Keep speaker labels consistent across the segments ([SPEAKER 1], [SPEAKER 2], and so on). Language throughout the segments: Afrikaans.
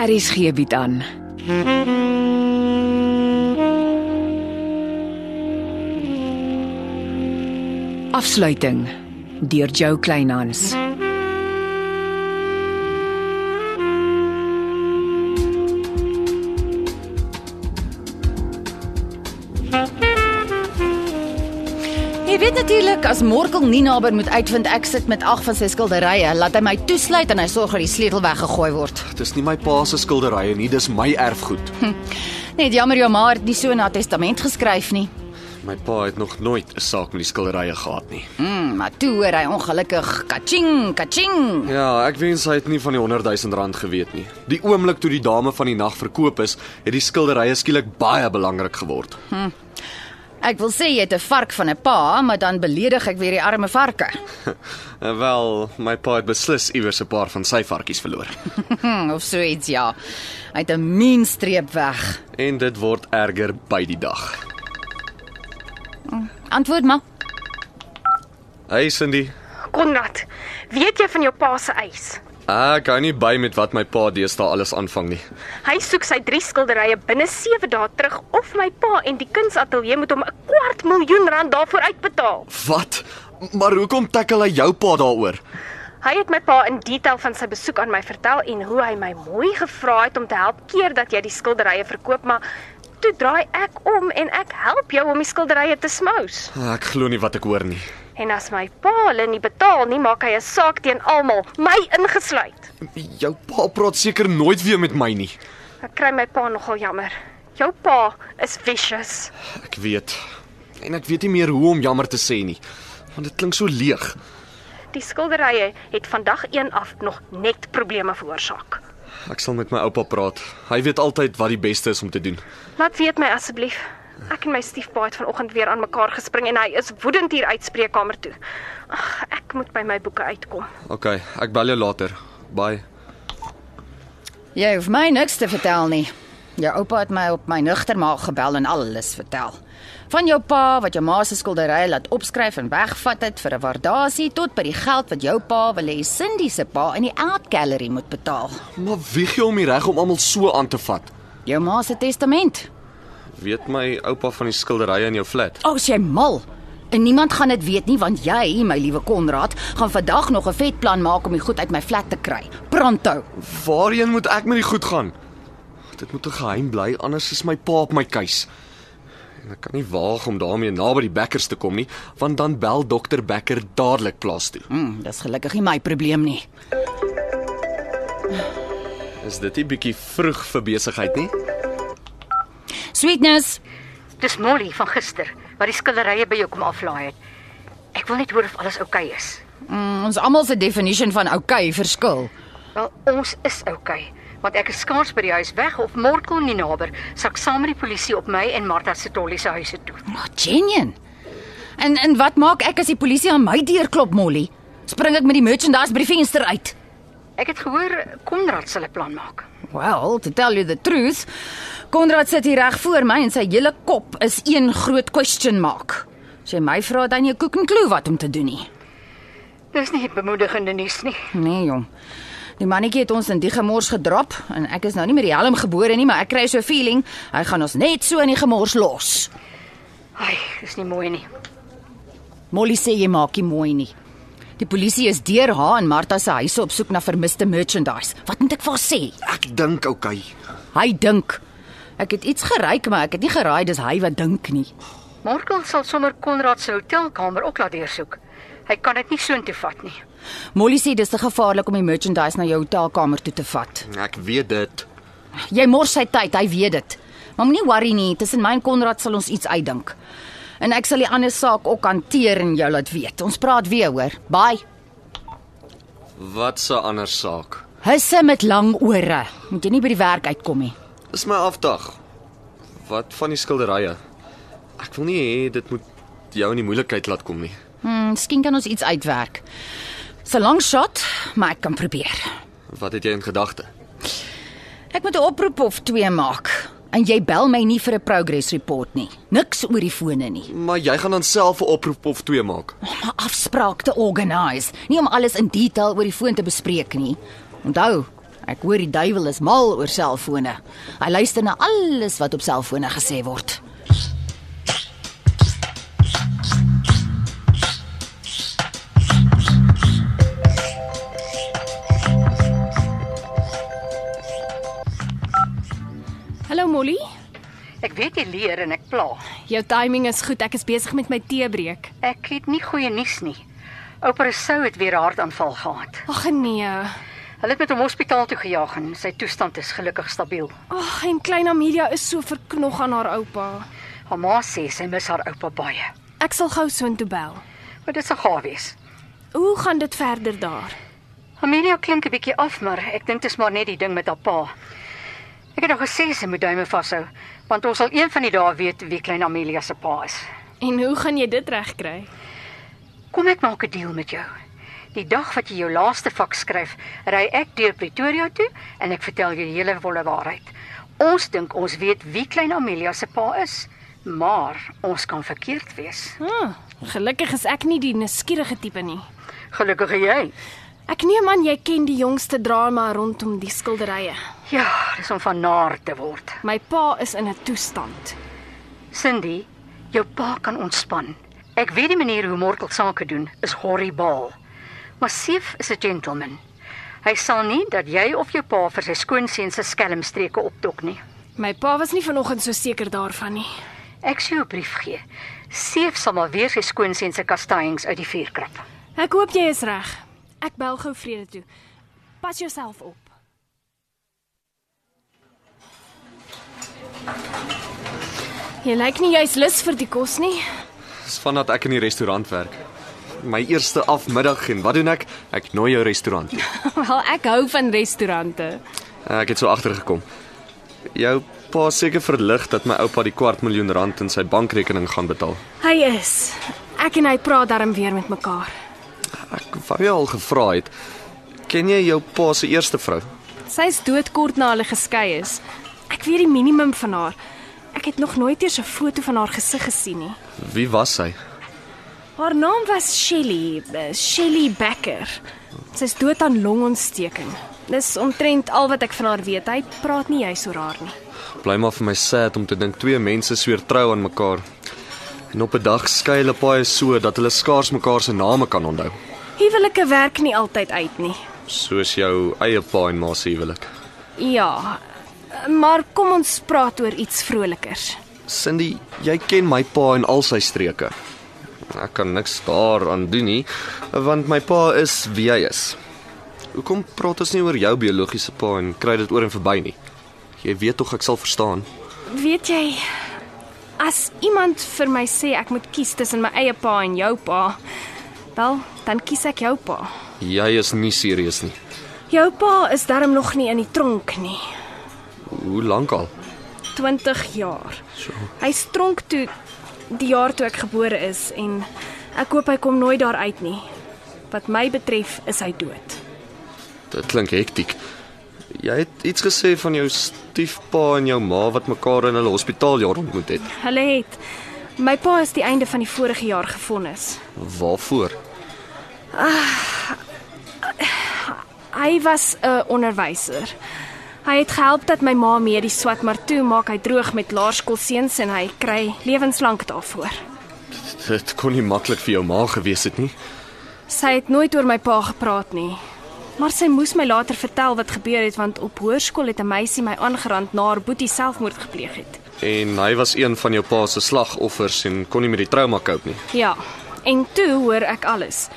[SPEAKER 1] RSG bied Er aan. Afsluiting deur Jo Kleinhans.
[SPEAKER 2] Jy weet natuurlik as Morkel nie naby moet uitvind ek sit met 8 van sy skilderye, laat hy my toesluit en hy sorg dat die sleutel weggegooi word.
[SPEAKER 3] Dis nie my pa se skilderye nie, dis my erfgoed.
[SPEAKER 2] Net jammer jou ma het nie so 'n testament geskryf nie.
[SPEAKER 3] My pa het nog nooit 'n saak met die skilderye gehad nie.
[SPEAKER 2] Hmm, maar toe hoor hy ongelukkig kaching, kaching.
[SPEAKER 3] Ja, ek wens hy het nie van die 100 000 rand geweet nie. Die oomblik toe die dame van die nag verkoop is, het die skilderye skielik baie belangrik geword.
[SPEAKER 2] Ek wil sê jy het 'n vark van 'n pa, maar dan beledig ek weer die arme varke.
[SPEAKER 3] En Eh, Wel, my pa het beslis iewers 'n paar van sy varkies verloor.
[SPEAKER 2] Hm, of so iets ja. Hy het 'n mean streep weg.
[SPEAKER 3] En dit word erger by die dag.
[SPEAKER 2] Antwoord maar.
[SPEAKER 3] Hey Cindy,
[SPEAKER 4] Konrad, weet jy van jou pa se eis?
[SPEAKER 3] ek kan nie by met wat my pa deesdae alles aanvang nie.
[SPEAKER 4] Hy soek sy drie skilderye binne 7 dae terug of my pa en die kunsateljee moet hom 'n kwart miljoen rand daarvoor uitbetaal.
[SPEAKER 3] Wat? Maar hoekom tackle hy jou pa daaroor?
[SPEAKER 4] Hy het my pa in detail van sy besoek aan my vertel en hoe hy my mooi gevra het om te help keer dat jy die skilderye verkoop, maar toe draai ek om en ek help jou om die skilderye te smous.
[SPEAKER 3] Ek glo nie wat ek hoor nie.
[SPEAKER 4] En as my pa hulle nie betaal nie, maak hy 'n saak teen almal, my ingesluit.
[SPEAKER 3] Jou pa praat seker nooit weer met my nie.
[SPEAKER 4] Ek kry my pa nogal jammer. Jou pa is vicious.
[SPEAKER 3] Ek weet. En ek weet nie meer hoe om jammer te sê nie, want dit klink so leeg.
[SPEAKER 4] Die skilderye het vandag 1 af nog net probleme veroorsaak.
[SPEAKER 3] Ek sal met my oupa praat. Hy weet altyd wat die beste is om te doen.
[SPEAKER 4] Laat weet my asseblief. Ek en my stiefpa het vanoggend weer aan mekaar gespring en hy is woedend hier uit spreekkamer toe. Ag, ek moet by my boeke uitkom.
[SPEAKER 3] OK, ek bel jou later. Bye.
[SPEAKER 2] Jy hoef my niks te vertel nie. Jou oupa het my op my nugter maag gebel en alles vertel. Van jou pa wat jou ma se skildery laat opskryf en wegvat het vir 'n waardasie tot by die geld wat jou pa wil hê Cindy se pa in die art gallery moet betaal.
[SPEAKER 3] Maar wieg jy om die reg om almal so aan te vat?
[SPEAKER 2] Jou ma se testament.
[SPEAKER 3] Weet my oupa van die skilderye in jou flat?
[SPEAKER 2] O, oh, sy mal. En niemand gaan dit weet nie want jy, my liewe Konrad, gaan vandag nog 'n vet plan maak om die goed uit my flat te kry. Pronto.
[SPEAKER 3] Waarheen moet ek met die goed gaan? Dit moet 'n geheim bly, anders is my pa op my keus. En ek kan nie waag om daarmee naby die Beckers te kom nie, want dan bel dokter Becker dadelik plaas toe.
[SPEAKER 2] Hm, dis gelukkig nie my probleem nie.
[SPEAKER 3] Is dit nie bietjie vroeg vir besigheid nie?
[SPEAKER 2] Sweetness,
[SPEAKER 5] Dis Molly van gister wat die skilderye by jou kom aflaai het. Ek wil net hoor of alles oukei okay is.
[SPEAKER 2] mm, ons almal se definition van oukei okay verskil.
[SPEAKER 5] Wel, ons is oukei, okay, want ek is skaars by die huis weg of Morkel nie nader. Sak saam met die polisie op my en Martha se tollie se huise toe.
[SPEAKER 2] Oh, Genien. En en wat maak ek as die polisie aan my deur klop, Molly? Spring ek met die merchandise by die venster uit?
[SPEAKER 5] Ek het gehoor Konrad sal 'n plan maak.
[SPEAKER 2] Well, to tell you the truth, Konrad sit hier reg voor my en sy hele kop is een groot question mark. As jy my vra dan jy koek en klou wat om te doen nie.
[SPEAKER 5] Dis nie bemoedigende nuus nie.
[SPEAKER 2] Nee, jong. Die mannetjie het ons in die gemors gedrop en ek is nou nie met die helm gebore nie, maar ek kry so 'n feeling hy gaan ons net so in die gemors los.
[SPEAKER 5] Ai, dis nie mooi nie.
[SPEAKER 2] Molly sê jy maak nie mooi nie. Die polisie is deur haar en Martha se huise op soek na vermiste merchandise. Wat moet ek vir haar sê?
[SPEAKER 3] Ek dink okay.
[SPEAKER 2] Hy dink ek het iets geryk, maar ek het nie geraai dis hy wat dink nie.
[SPEAKER 5] Morkel sal sommer Konrad se hotelkamer ook laat deursoek. Hy kan dit nie soontoe vat nie.
[SPEAKER 2] Molly sê dis te gevaarlik om die merchandise na jou hotelkamer toe te vat.
[SPEAKER 3] Ek weet dit.
[SPEAKER 2] Jy mors sy tyd, hy weet dit. Maar moenie worry nie, tussen my en Konrad sal ons iets uitdink. En ek sal die ander saak ook hanteer en jou laat weet. Ons praat weer, hoor. Bye.
[SPEAKER 3] Wat 'n ander saak.
[SPEAKER 2] Husse met lang ore. Moet jy nie by die werk uitkom nie.
[SPEAKER 3] Dis my afdag. Wat van die skilderye? Ek wil nie hê dit moet jou in die moeilikheid laat kom nie.
[SPEAKER 2] Hm, miskien kan ons iets uitwerk. Dis 'n lang shot, maar ek kan probeer.
[SPEAKER 3] Wat het jy in gedagte?
[SPEAKER 2] Ek moet 'n oproep of twee maak. En jy bel my nie vir 'n progress report nie. Niks oor die fone nie.
[SPEAKER 3] Maar jy gaan dan self 'n oproep of twee maak.
[SPEAKER 2] om 'n afspraak te organise, nie om alles in detail oor die foon te bespreek nie. Onthou, Ek hoor die duiwel is mal oor selfone. Hy luister na alles wat op selfone gesê word.
[SPEAKER 4] Hallo Molly.
[SPEAKER 6] Ek weet jy leer en ek pla.
[SPEAKER 4] Jou timing is goed. Ek is besig met my teebreek.
[SPEAKER 6] Ek het nie goeie nuus nie. Oupa Rousseau het weer 'n hartaanval gehad.
[SPEAKER 4] Ag nee.
[SPEAKER 6] Hulle het met hom hospitaal toe gejaag en sy toestand is gelukkig stabiel.
[SPEAKER 4] Ag, en klein Amelia is so verknog aan haar oupa.
[SPEAKER 6] Haar ma sê sy mis haar oupa baie.
[SPEAKER 4] Ek sal gou soontoe bel.
[SPEAKER 6] Maar dit sal gaaf wees.
[SPEAKER 4] Hoe gaan dit verder daar?
[SPEAKER 6] Amelia klink 'n bietjie af, maar ek dink dit is maar net die ding met haar pa. Ek het nog gesê sy moet duime vashou, want ons sal een van die dae weet wie klein Amelia se pa is.
[SPEAKER 4] En hoe gaan jy dit regkry?
[SPEAKER 6] Kom ek maak 'n deal met jou. Die dag wat jy jou laaste vak skryf, ry ek deur Pretoria toe en ek vertel jou die hele volle waarheid. Ons dink ons weet wie klein Amelia se pa is, maar ons kan verkeerd wees.
[SPEAKER 4] Ah, gelukkig is ek nie die nuuskierige tipe nie.
[SPEAKER 6] Gelukkig is jy.
[SPEAKER 4] Ek neem aan jy ken die jongste drama rondom die skilderye.
[SPEAKER 6] Ja, dis om van naar te word.
[SPEAKER 4] My pa is in 'n toestand.
[SPEAKER 6] Cindy, jou pa kan ontspan. Ek weet die manier hoe Mortel sake doen is horribaal. Maar Seef is 'n gentleman. Hy sal nie dat jy of jou pa vir sy skoonseun se skelmstreke opdok nie.
[SPEAKER 4] My pa was nie vanoggend so seker daarvan nie.
[SPEAKER 6] Ek sê jou brief gee. Seef sal maar weer sy skoonseun se kastanjings uit die vuur krap.
[SPEAKER 4] Ek hoop jy is reg. Ek bel gou Vrede toe. Pas jouself op. Jy lyk nie jy's lus vir die kos nie.
[SPEAKER 3] Dis vandat ek in die restaurant werk. My eerste afmiddag en wat doen ek? Ek nooi jou restaurant toe.
[SPEAKER 4] Wel, ek hou van restaurante.
[SPEAKER 3] Ek het so agtergekom. Jou pa is seker verlig dat my oupa die kwart miljoen rand in sy bankrekening gaan betaal.
[SPEAKER 4] Hy is. Ek en hy praat darm weer met mekaar.
[SPEAKER 3] Ek wou jou al gevra het. Ken jy jou pa se eerste vrou?
[SPEAKER 4] Sy's doodkort na hulle geskei is. Ek weet die minimum van haar. Ek het nog nooit eers 'n foto van haar gesig gesien nie.
[SPEAKER 3] Wie was sy?
[SPEAKER 4] Haar naam was Shelly, eh, Shelly Becker. Sy's dood aan longontsteking. Dis omtrent al wat ek van haar weet. Hy praat nie juis oor haar nie.
[SPEAKER 3] Bly maar vir my sad om te dink twee mense sweer trou aan mekaar. En op 'n dag skei hulle paai so dat hulle skaars mekaar se name kan onthou.
[SPEAKER 4] Huwelike werk nie altyd uit nie.
[SPEAKER 3] Soos jou eie pa en ma se huwelik.
[SPEAKER 4] Ja. Maar kom ons praat oor iets vrolikers.
[SPEAKER 3] Cindy, jy ken my pa en al sy streke. Ek kan niks daaraan doen nie, want my pa is wie hy is. Hoekom praat ons nie oor jou biologiese pa en kry dit oor en verby nie? Jy weet tog ek sal verstaan.
[SPEAKER 4] Weet jy, as iemand vir my sê ek moet kies tussen my eie pa en jou pa, wel, dan kies ek jou pa.
[SPEAKER 3] Jy is nie serieus nie.
[SPEAKER 4] Jou pa is darm nog nie in die tronk nie.
[SPEAKER 3] Hoe lank al?
[SPEAKER 4] 20 jaar. So. Hy stronk toe die jaar toe ek gebore is en ek hoop hy kom nooit daar uit nie. Wat my betref is hy dood.
[SPEAKER 3] Dit klink hektiek. Jy het iets gesê van jou stiefpa en jou ma wat mekaar in hulle hospitaaljaar ontmoet het.
[SPEAKER 4] Hulle het my pa is die einde van die vorige jaar gefonnis.
[SPEAKER 3] Waarvoor?
[SPEAKER 4] Hy was 'n onderwyser. Hy het gehelp dat my ma mee die swat maar toe maak hy droog met laerskoolseuns en hy kry lewenslank daarvoor.
[SPEAKER 3] Dit kon nie maklik vir jou ma gewees het nie.
[SPEAKER 4] Sy het nooit oor my pa gepraat nie. Maar sy moes my later vertel wat gebeur het want op hoërskool het 'n meisie my aangerand na haar boetie selfmoord gepleeg het.
[SPEAKER 3] En hy was een van jou pa se slagoffers en kon nie met die trauma cope nie.
[SPEAKER 4] Ja, en toe hoor ek alles.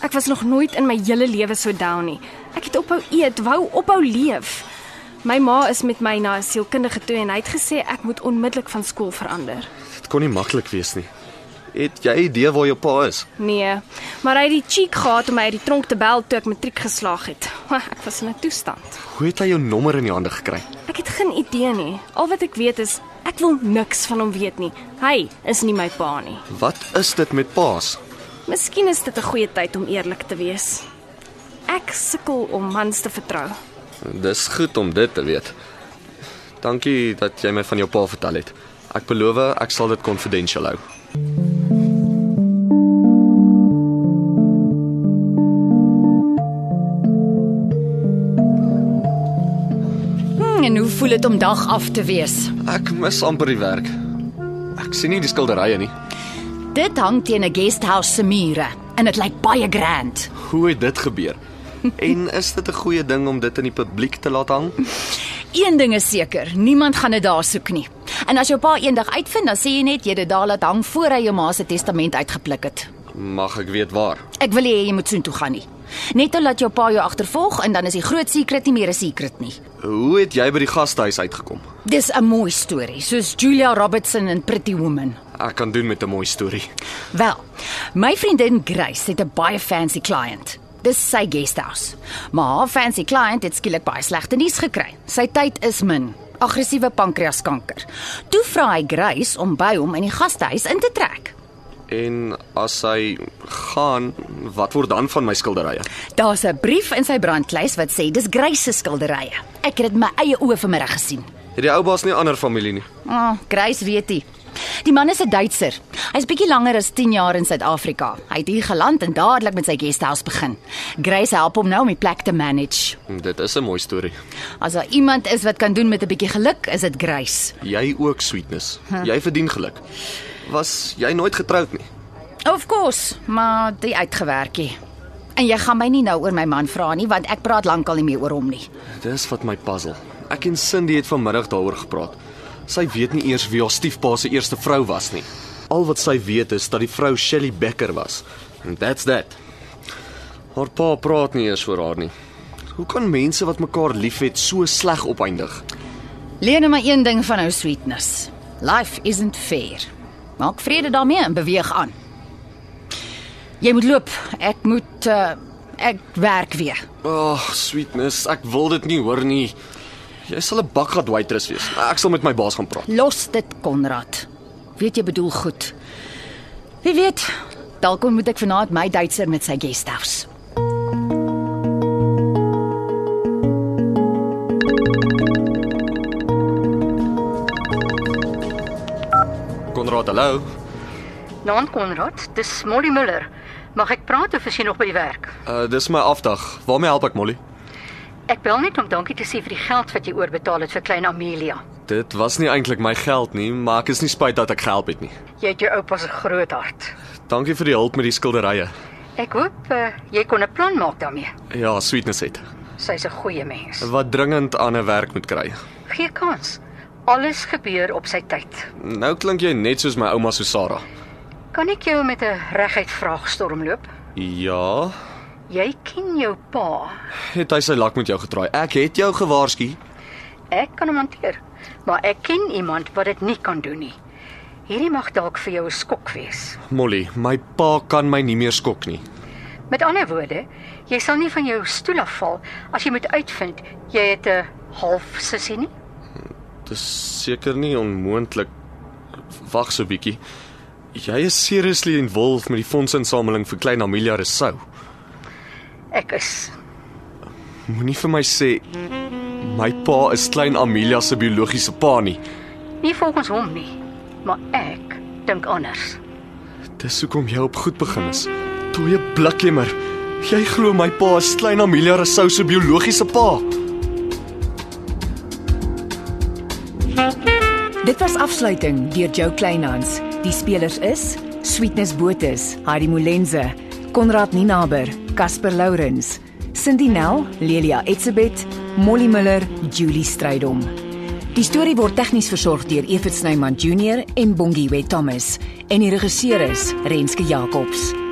[SPEAKER 4] Ek was nog nooit in my hele lewe so down nie. Ek het ophou eet, wou ophou leef. My ma is met my na 'n sielkundige toe en hy het gesê ek moet onmiddellik van skool verander.
[SPEAKER 3] Dit kon nie maklik wees nie. Het jy idee waar jou pa is?
[SPEAKER 4] Nee, maar hy het die cheek gehad om my uit die tronk te bel toe ek matriek geslaag het. Ek was in 'n toestand.
[SPEAKER 3] Hoe het hy jou nommer in die hande gekry?
[SPEAKER 4] Ek het geen idee nie. Al wat ek weet is ek wil niks van hom weet nie. Hy is nie my pa nie.
[SPEAKER 3] Wat is dit met paas?
[SPEAKER 4] Miskien is dit 'n goeie tyd om eerlik te wees. Ek sukkel om mans te vertrou.
[SPEAKER 3] Dis goed om dit te weet. Dankie dat jy my van jou pa vertel het. Ek beloof ek sal dit confidential hou.
[SPEAKER 2] Hmm, En hoe voel dit om dag af te wees?
[SPEAKER 3] Ek mis amper die werk. Ek sien nie die skilderye nie.
[SPEAKER 2] Dit hang teen 'n guesthouse se mure en dit lyk baie grand.
[SPEAKER 3] Hoe het dit gebeur? En is dit 'n goeie ding om dit in die publiek te laat hang?
[SPEAKER 2] Een ding is seker, niemand gaan dit daar soek nie. En as jou pa eendag uitvind, dan sê jy net jy het dit daar laat hang voor hy jou ma se testament uitgepluk het.
[SPEAKER 3] Mag ek weet waar?
[SPEAKER 2] Ek wil nie hê jy moet soontoe gaan nie. Net nou laat jou pa jou agtervolg en dan is die groot secret nie meer 'n secret nie.
[SPEAKER 3] Hoe het jy by die gastehuis uitgekom?
[SPEAKER 2] Dis 'n mooi storie, soos Julia Robertson in Pretty Woman.
[SPEAKER 3] Ek kan doen met 'n mooi storie.
[SPEAKER 2] Wel, my vriendin Grace het 'n baie fancy kliënt. Dis sy guesthouse. Maar haar fancy kliënt het skielik baie slegte nuus gekry. Sy tyd is min. Aggressiewe pankreaskanker. Toe vra hy Grace om by hom in die gastehuis in te trek.
[SPEAKER 3] En as hy gaan, wat word dan van my skilderye?
[SPEAKER 2] Daar's 'n brief in sy brandlys wat sê dis Grace se skilderye. Ek het dit met my eie oë vanmiddag gesien.
[SPEAKER 3] Het die ou baas nie ander familie nie?
[SPEAKER 2] Ah, oh, Grace weet dit. Die man is 'n Duitser. Hy's bietjie langer as 10 jaar in Suid-Afrika. Hy het hier geland en dadelik met sy guesthouse begin. Grace help hom nou om die plek te manage.
[SPEAKER 3] Dit is 'n mooi storie.
[SPEAKER 2] As daar iemand is wat kan doen met 'n bietjie geluk, is dit Grace.
[SPEAKER 3] Jy ook sweetness. Jy verdien geluk. Was jy nooit getroud nie?
[SPEAKER 2] Of course, maar dit uitgewerkie. En jy gaan my nie nou oor my man vra nie, want ek praat lankal nie meer oor hom nie.
[SPEAKER 3] Dis wat my puzzle. Ek en Cindy het vanmiddag daaroor gepraat. Sy weet nie eers wie haar stiefpa se eerste vrou was nie. Al wat sy weet is dat die vrou Shelly Becker was. And that's that. Haar pa praat nie eers oor haar nie. Hoe kan mense wat mekaar liefhet so sleg opeindig?
[SPEAKER 2] Leer net maar een ding van ou sweetness. Life isn't fair. Maak vrede daarmee en beweeg aan. Jy moet loop. Ek moet uh, ek werk weer.
[SPEAKER 3] Ag, oh, sweetness, ek wil dit nie hoor nie. Jy sal 'n bakgat waitress wees. Ek sal met my baas gaan praat.
[SPEAKER 2] Los dit, Konrad. Weet jy bedoel goed. Wie weet, dalk moet ek vanaand my Duitser met sy guesthouse.
[SPEAKER 3] Konrad, hallo.
[SPEAKER 6] Naam Konrad, dis Molly Müller. Mag ek praat of is jy nog by die werk?
[SPEAKER 3] Uh, dis my afdag. Waarmee help ek Molly?
[SPEAKER 6] Ek bel net om dankie te sê vir die geld wat jy oorbetaal het vir klein Amelia.
[SPEAKER 3] Dit was nie eintlik my geld nie, maar ek is nie spyt dat ek gehelp het nie.
[SPEAKER 6] Jy het jou oupa se groot hart.
[SPEAKER 3] Dankie vir die hulp met die skilderye.
[SPEAKER 6] Ek hoop uh, jy kon 'n plan maak daarmee.
[SPEAKER 3] Ja, sweetness het.
[SPEAKER 6] Sy's 'n goeie mens.
[SPEAKER 3] Wat dringend aan 'n werk moet kry.
[SPEAKER 6] Gee kans. Alles gebeur op sy tyd.
[SPEAKER 3] Nou klink jy net soos my ouma Susara.
[SPEAKER 6] Kan ek jou met 'n reguit vraag stormloop?
[SPEAKER 3] Ja,
[SPEAKER 6] Jy ken jou pa.
[SPEAKER 3] het hy sy lak met jou getraai. Ek het jou gewaarsku.
[SPEAKER 6] Ek kan hom hanteer, maar ek ken iemand wat dit nie kan doen nie. Hierdie mag dalk vir jou 'n skok wees.
[SPEAKER 3] Molly, my pa kan my nie meer skok nie.
[SPEAKER 6] Met ander woorde, jy sal nie van jou stoel af val as jy moet uitvind jy het 'n half sussie nie.
[SPEAKER 3] Dis seker nie onmoontlik. Wag so 'n bietjie. Jy is seriously involved met die fondsinsameling vir Klein Amelia Resou.
[SPEAKER 6] Ek is
[SPEAKER 3] Moenie vir my sê my pa is Klein Amelia se biologiese pa nie.
[SPEAKER 6] nie volgens hom nie, maar ek dink anders.
[SPEAKER 3] Dis hoekom jy op goed begin is. Toe 'n blikjemmer. Jy glo my pa is Klein Amelia Resou se biologiese pa.
[SPEAKER 1] Dit was afsluiting deur Jo Kleinhans. Die spelers is Sweetness Botha, Heidi Molenze, Konrad Ninaber, Casper Lourens, Cindy Nel, Lelia Etzebeth, Molly Müller, Julie Strydom. Die storie word tegnies versorg deur Evit Snyman Junior en Bongwe Thomas en die regisseur is Renske Jacobs.